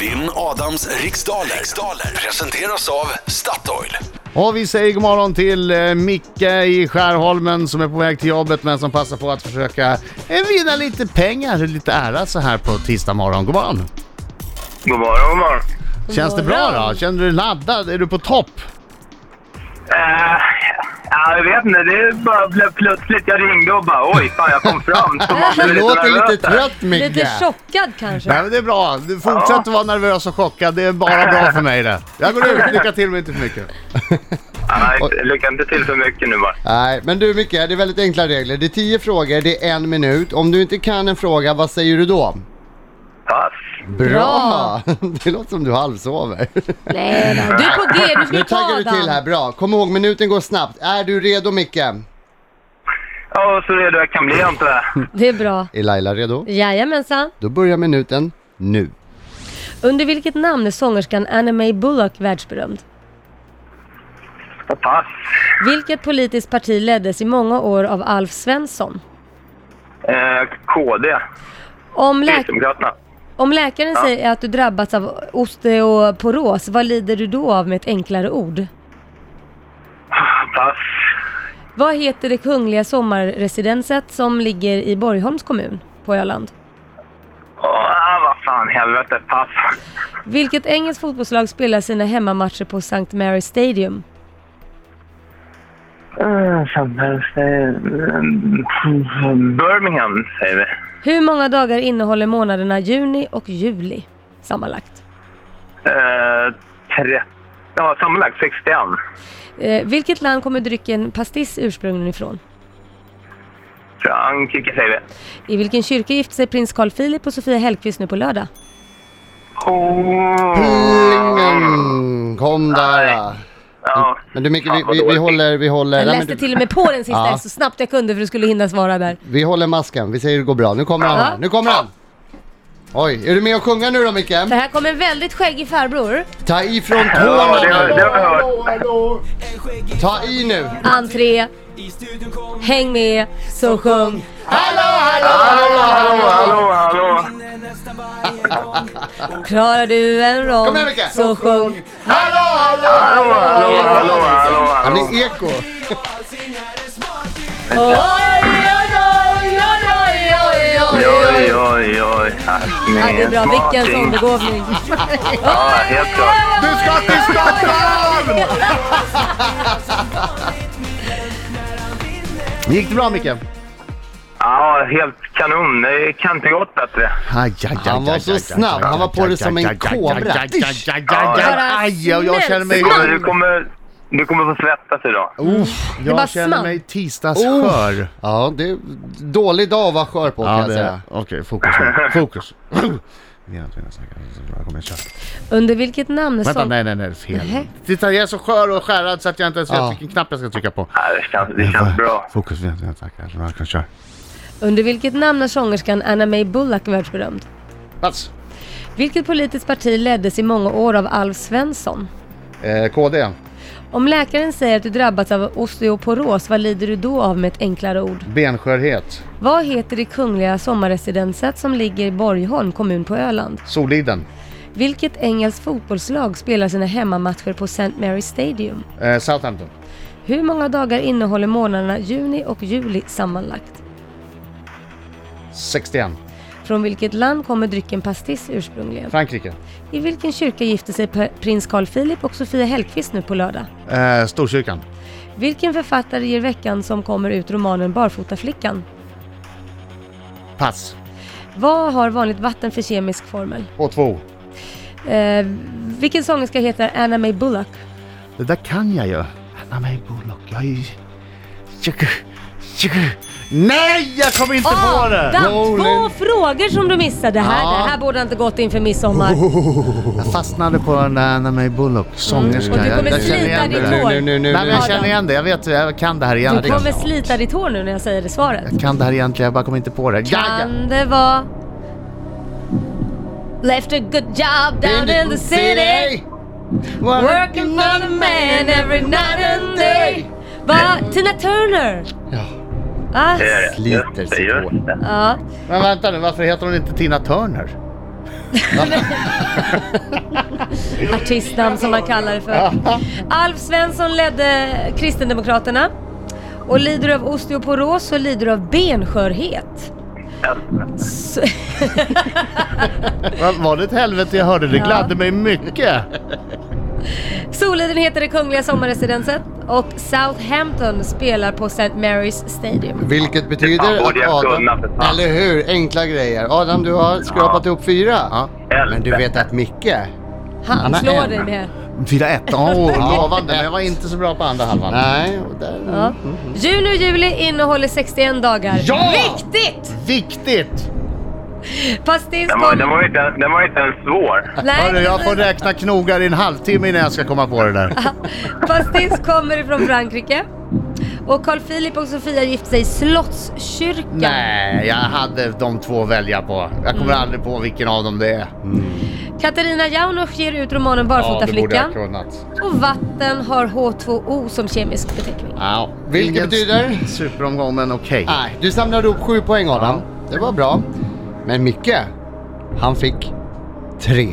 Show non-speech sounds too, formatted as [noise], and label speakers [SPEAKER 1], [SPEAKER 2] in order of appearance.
[SPEAKER 1] Vinn Adams riksdaler. riksdaler presenteras av Statoil.
[SPEAKER 2] Och vi säger god morgon till eh, Micke i Skärholmen som är på väg till jobbet men som passar på att försöka eh, vinna lite pengar, lite ära så här på tisdag morgon. God morgon!
[SPEAKER 3] God morgon, god morgon.
[SPEAKER 2] Känns det bra då? Känner du dig laddad? Är du på topp?
[SPEAKER 3] Eh, ja, jag vet inte, det bara blev plötsligt. Jag ringde och bara oj, fan jag kom fram. Så man
[SPEAKER 2] [laughs] Du
[SPEAKER 3] blev
[SPEAKER 2] låter
[SPEAKER 3] nervös
[SPEAKER 2] lite
[SPEAKER 3] där.
[SPEAKER 2] trött Micke.
[SPEAKER 4] Lite chockad kanske.
[SPEAKER 2] Nej men det är bra. Du fortsätt att vara nervös och chockad. Det är bara bra för mig det. Jag går ut. Lycka till men inte för mycket.
[SPEAKER 3] Nej, lycka inte till för mycket nu bara.
[SPEAKER 5] Nej, men du Micke, det är väldigt enkla regler. Det är tio frågor, det är en minut. Om du inte kan en fråga, vad säger du då?
[SPEAKER 3] Pass.
[SPEAKER 4] Bra.
[SPEAKER 5] [laughs] Det låter som du halvsover.
[SPEAKER 4] Nej, då. Du är på G, nu ska
[SPEAKER 5] Nu
[SPEAKER 4] vi ta
[SPEAKER 5] taggar du till här,
[SPEAKER 4] Adam.
[SPEAKER 5] bra. Kom ihåg, minuten går snabbt. Är du redo Micke?
[SPEAKER 3] Ja, och så redo jag kan bli antar jag.
[SPEAKER 4] Det är bra.
[SPEAKER 5] Är Laila redo?
[SPEAKER 4] Jajamensan.
[SPEAKER 5] Då börjar minuten nu.
[SPEAKER 4] Under vilket namn är sångerskan Anna May Bullock världsberömd?
[SPEAKER 3] Pass.
[SPEAKER 4] Vilket politiskt parti leddes i många år av Alf Svensson?
[SPEAKER 3] Eh, KD.
[SPEAKER 4] Om, lä
[SPEAKER 3] Kristdemokraterna.
[SPEAKER 4] om läkaren säger att du drabbats av osteoporos, vad lider du då av med ett enklare ord?
[SPEAKER 3] Pass.
[SPEAKER 4] Vad heter det kungliga sommarresidenset som ligger i Borgholms kommun på Öland?
[SPEAKER 3] Åh, ah, vad fan, helvete. Pass.
[SPEAKER 4] Vilket engelskt fotbollslag spelar sina hemmamatcher på St. Mary's Stadium?
[SPEAKER 3] Eh, samhälls... eh, Birmingham säger vi.
[SPEAKER 4] Hur många dagar innehåller månaderna juni och juli sammanlagt?
[SPEAKER 3] Eh, tre... Ja, sammanlagt 61.
[SPEAKER 4] Eh, vilket land kommer drycken pastis ursprungligen ifrån?
[SPEAKER 3] Frankrike säger vi.
[SPEAKER 4] I vilken kyrka gifte sig prins Carl Philip och Sofia Hellqvist nu på lördag?
[SPEAKER 5] Plingen! Kom där.
[SPEAKER 3] Ja.
[SPEAKER 5] Men du Micke, vi,
[SPEAKER 3] Fan, vad
[SPEAKER 5] vi, vi
[SPEAKER 3] dåligt.
[SPEAKER 5] håller... Vi håller
[SPEAKER 4] Jag
[SPEAKER 5] nej, men
[SPEAKER 4] läste
[SPEAKER 5] du-
[SPEAKER 4] till och med på den sista
[SPEAKER 5] [laughs] Ja.
[SPEAKER 4] så snabbt jag kunde för du skulle hinna svara där.
[SPEAKER 5] Vi håller masken, vi säger det går bra. Nu kommer han
[SPEAKER 4] Ja.
[SPEAKER 5] här, nu kommer han! Oj, är du med och sjunga nu då Micke?
[SPEAKER 4] För här kommer en väldigt skäggig farbror.
[SPEAKER 5] Ta i från
[SPEAKER 3] Ja,
[SPEAKER 5] tårna
[SPEAKER 3] det, har-
[SPEAKER 5] nu!
[SPEAKER 3] det har jag hört.
[SPEAKER 5] Ta i nu!
[SPEAKER 4] Entré. Häng med, så sjung.
[SPEAKER 3] Hallå, hallå, hallå, hallå.
[SPEAKER 4] Klarar du en
[SPEAKER 5] Kom
[SPEAKER 4] rond,
[SPEAKER 5] igen, Micke.
[SPEAKER 4] så sjung.
[SPEAKER 3] Hallå, hallå, hallå, hallå,
[SPEAKER 5] Han
[SPEAKER 3] hallå.
[SPEAKER 5] är eko!
[SPEAKER 4] Oj, oj, oj, oj, oj, oj, oj.
[SPEAKER 3] Oj, oj, oj.
[SPEAKER 4] Ja, det är bra. Vilken
[SPEAKER 5] [laughs]
[SPEAKER 4] sån begåvning.
[SPEAKER 3] Ja, helt klart.
[SPEAKER 2] Du ska till Stockholm! Gick det bra Micke? Aj,
[SPEAKER 3] Ja, helt kanon. Det kan inte gått bättre.
[SPEAKER 2] aj, aj,
[SPEAKER 5] Han var
[SPEAKER 2] aj,
[SPEAKER 5] så
[SPEAKER 2] aj,
[SPEAKER 5] snabb. Han var på det som en
[SPEAKER 2] aj, aj, aj,
[SPEAKER 5] kobra.
[SPEAKER 2] aj, aj, aj, aj, aj, Aj, och jag känner mig...
[SPEAKER 3] Du kommer, du kommer, du kommer få svettas idag.
[SPEAKER 2] Oh. Uff,
[SPEAKER 4] bara
[SPEAKER 2] jag känner
[SPEAKER 4] small.
[SPEAKER 2] mig
[SPEAKER 5] Uff.
[SPEAKER 2] tisdagsskör.
[SPEAKER 5] Ja, det är dålig dag att vara skör på kan jag säga.
[SPEAKER 2] Okej, fokus. nu. Fokus. Vinna, vinna, snacka, så bra, kom igen, kör.
[SPEAKER 4] Under vilket namn är
[SPEAKER 2] Vänta,
[SPEAKER 4] sång...
[SPEAKER 2] nej, nej, nej, fel.
[SPEAKER 4] Nähä.
[SPEAKER 2] Titta, jag är så skör och skärrad så att jag inte ens vet
[SPEAKER 5] Ja.
[SPEAKER 2] vilken knapp jag ska trycka på.
[SPEAKER 3] Ja, Det känns, det känns bra.
[SPEAKER 2] Fokus, vinna, vinna, snacka, så bra, kom, kör.
[SPEAKER 4] Under vilket namn är sångerskan Anna May Bullock världsberömd?
[SPEAKER 2] Plats.
[SPEAKER 4] Vilket politiskt parti leddes i många år av Alf Svensson?
[SPEAKER 2] Eh, KD.
[SPEAKER 4] Om läkaren säger att du drabbats av osteoporos, vad lider du då av med ett enklare ord?
[SPEAKER 2] Benskörhet.
[SPEAKER 4] Vad heter det kungliga sommarresidenset som ligger i Borgholm kommun på Öland?
[SPEAKER 2] Soliden.
[SPEAKER 4] Vilket engelskt fotbollslag spelar sina hemmamatcher på St. Mary's Stadium?
[SPEAKER 2] Eh, Southampton.
[SPEAKER 4] Hur många dagar innehåller månaderna juni och juli sammanlagt?
[SPEAKER 2] 61.
[SPEAKER 4] Från vilket land kommer drycken pastis ursprungligen?
[SPEAKER 2] Frankrike.
[SPEAKER 4] I vilken kyrka gifte sig pr- prins Carl Philip och Sofia Hellqvist nu på lördag?
[SPEAKER 2] Eh, Storkyrkan.
[SPEAKER 4] Vilken författare ger veckan som kommer ut romanen Barfotaflickan?
[SPEAKER 2] Pass.
[SPEAKER 4] Vad har vanligt vatten för kemisk formel?
[SPEAKER 2] H2O.
[SPEAKER 4] Eh, vilken sångerska heter Anna May Bullock?
[SPEAKER 2] Det där kan jag ju. Anna May Bullock. Jag är ju... Tjugo, tjugo. Nej, jag kommer inte
[SPEAKER 4] Ah,
[SPEAKER 2] på det!
[SPEAKER 4] Adam,
[SPEAKER 2] Jo,
[SPEAKER 4] två frågor som du missade här.
[SPEAKER 2] Ja.
[SPEAKER 4] Det här borde inte gått inför midsommar.
[SPEAKER 2] Jag fastnade på den där Anna May Bullock, sångerskan.
[SPEAKER 4] Mm. Och du kommer
[SPEAKER 2] jag, jag känner
[SPEAKER 4] slita
[SPEAKER 2] igen det
[SPEAKER 4] ditt
[SPEAKER 2] där.
[SPEAKER 4] hår.
[SPEAKER 5] Nu, nu, nu,
[SPEAKER 2] Nej, men jag
[SPEAKER 4] Adam.
[SPEAKER 2] känner igen det. Jag vet, jag kan det här
[SPEAKER 4] Du
[SPEAKER 2] egentligen.
[SPEAKER 4] kommer slita ditt hår nu när jag säger det svaret.
[SPEAKER 2] Jag kan det här egentligen, jag bara kommer inte på det. Ja, ja.
[SPEAKER 4] Kan det vara... Left a good job down in the city Working for the man every night and day Va? Tina Turner!
[SPEAKER 5] Ja.
[SPEAKER 4] Ah,
[SPEAKER 3] Det är det.
[SPEAKER 5] Sliter
[SPEAKER 3] Just det,
[SPEAKER 5] sig på.
[SPEAKER 3] just det.
[SPEAKER 4] ja.
[SPEAKER 2] Men vänta nu, varför heter hon inte Tina Turner?
[SPEAKER 4] Artistnamn som man kallar
[SPEAKER 5] [laughs]
[SPEAKER 4] det för. Alf Svensson ledde Kristdemokraterna. Och lider du av osteoporos så lider du av benskörhet. [laughs] Så,
[SPEAKER 2] Va- Var det ett helvete jag hörde? Det gladde mig mycket.
[SPEAKER 4] Soliden heter det kungliga sommarresidenset och Southampton spelar på St. Mary's Stadium.
[SPEAKER 5] Vilket
[SPEAKER 3] fan
[SPEAKER 5] betyder
[SPEAKER 3] borde
[SPEAKER 5] att
[SPEAKER 3] jag kunna,
[SPEAKER 5] Adam...
[SPEAKER 3] för fan.
[SPEAKER 5] Eller hur? Enkla grejer. Adam, du har skrapat ihop fyra. Men du vet att Micke,
[SPEAKER 4] Han,
[SPEAKER 5] Han har
[SPEAKER 4] slår
[SPEAKER 5] en.
[SPEAKER 4] dig med.
[SPEAKER 2] Fyra ett. Åh,
[SPEAKER 5] Ja.
[SPEAKER 2] lovande. Men jag var inte så bra på andra halvan.
[SPEAKER 5] nej, och där...
[SPEAKER 4] Ja. Juni och juli innehåller 61 dagar.
[SPEAKER 2] Ja!
[SPEAKER 4] Viktigt!
[SPEAKER 2] Viktigt!
[SPEAKER 4] Pastis
[SPEAKER 3] Den var, den, var inte, den var inte ens svår.
[SPEAKER 4] Nej,
[SPEAKER 2] Hörru, jag får räkna knogar i en halvtimme innan jag ska komma på det där.
[SPEAKER 4] Pastis kommer ifrån Frankrike. Och Carl Philip och Sofia gifte sig i Slottskyrkan.
[SPEAKER 2] Nej, jag hade de två att välja på. Jag kommer aldrig på vilken av dem det är.
[SPEAKER 4] Katarina Janouch ger ut romanen Barfotaflickan.
[SPEAKER 2] kunnat.
[SPEAKER 4] och vatten har H2O som kemisk beteckning.
[SPEAKER 2] Ja,
[SPEAKER 5] Vilket
[SPEAKER 2] ingen
[SPEAKER 5] betyder?
[SPEAKER 2] Superomgång, men okej.
[SPEAKER 5] Nej, du samlade ihop sju poäng Adam. Det var bra. Men Micke, han fick tre.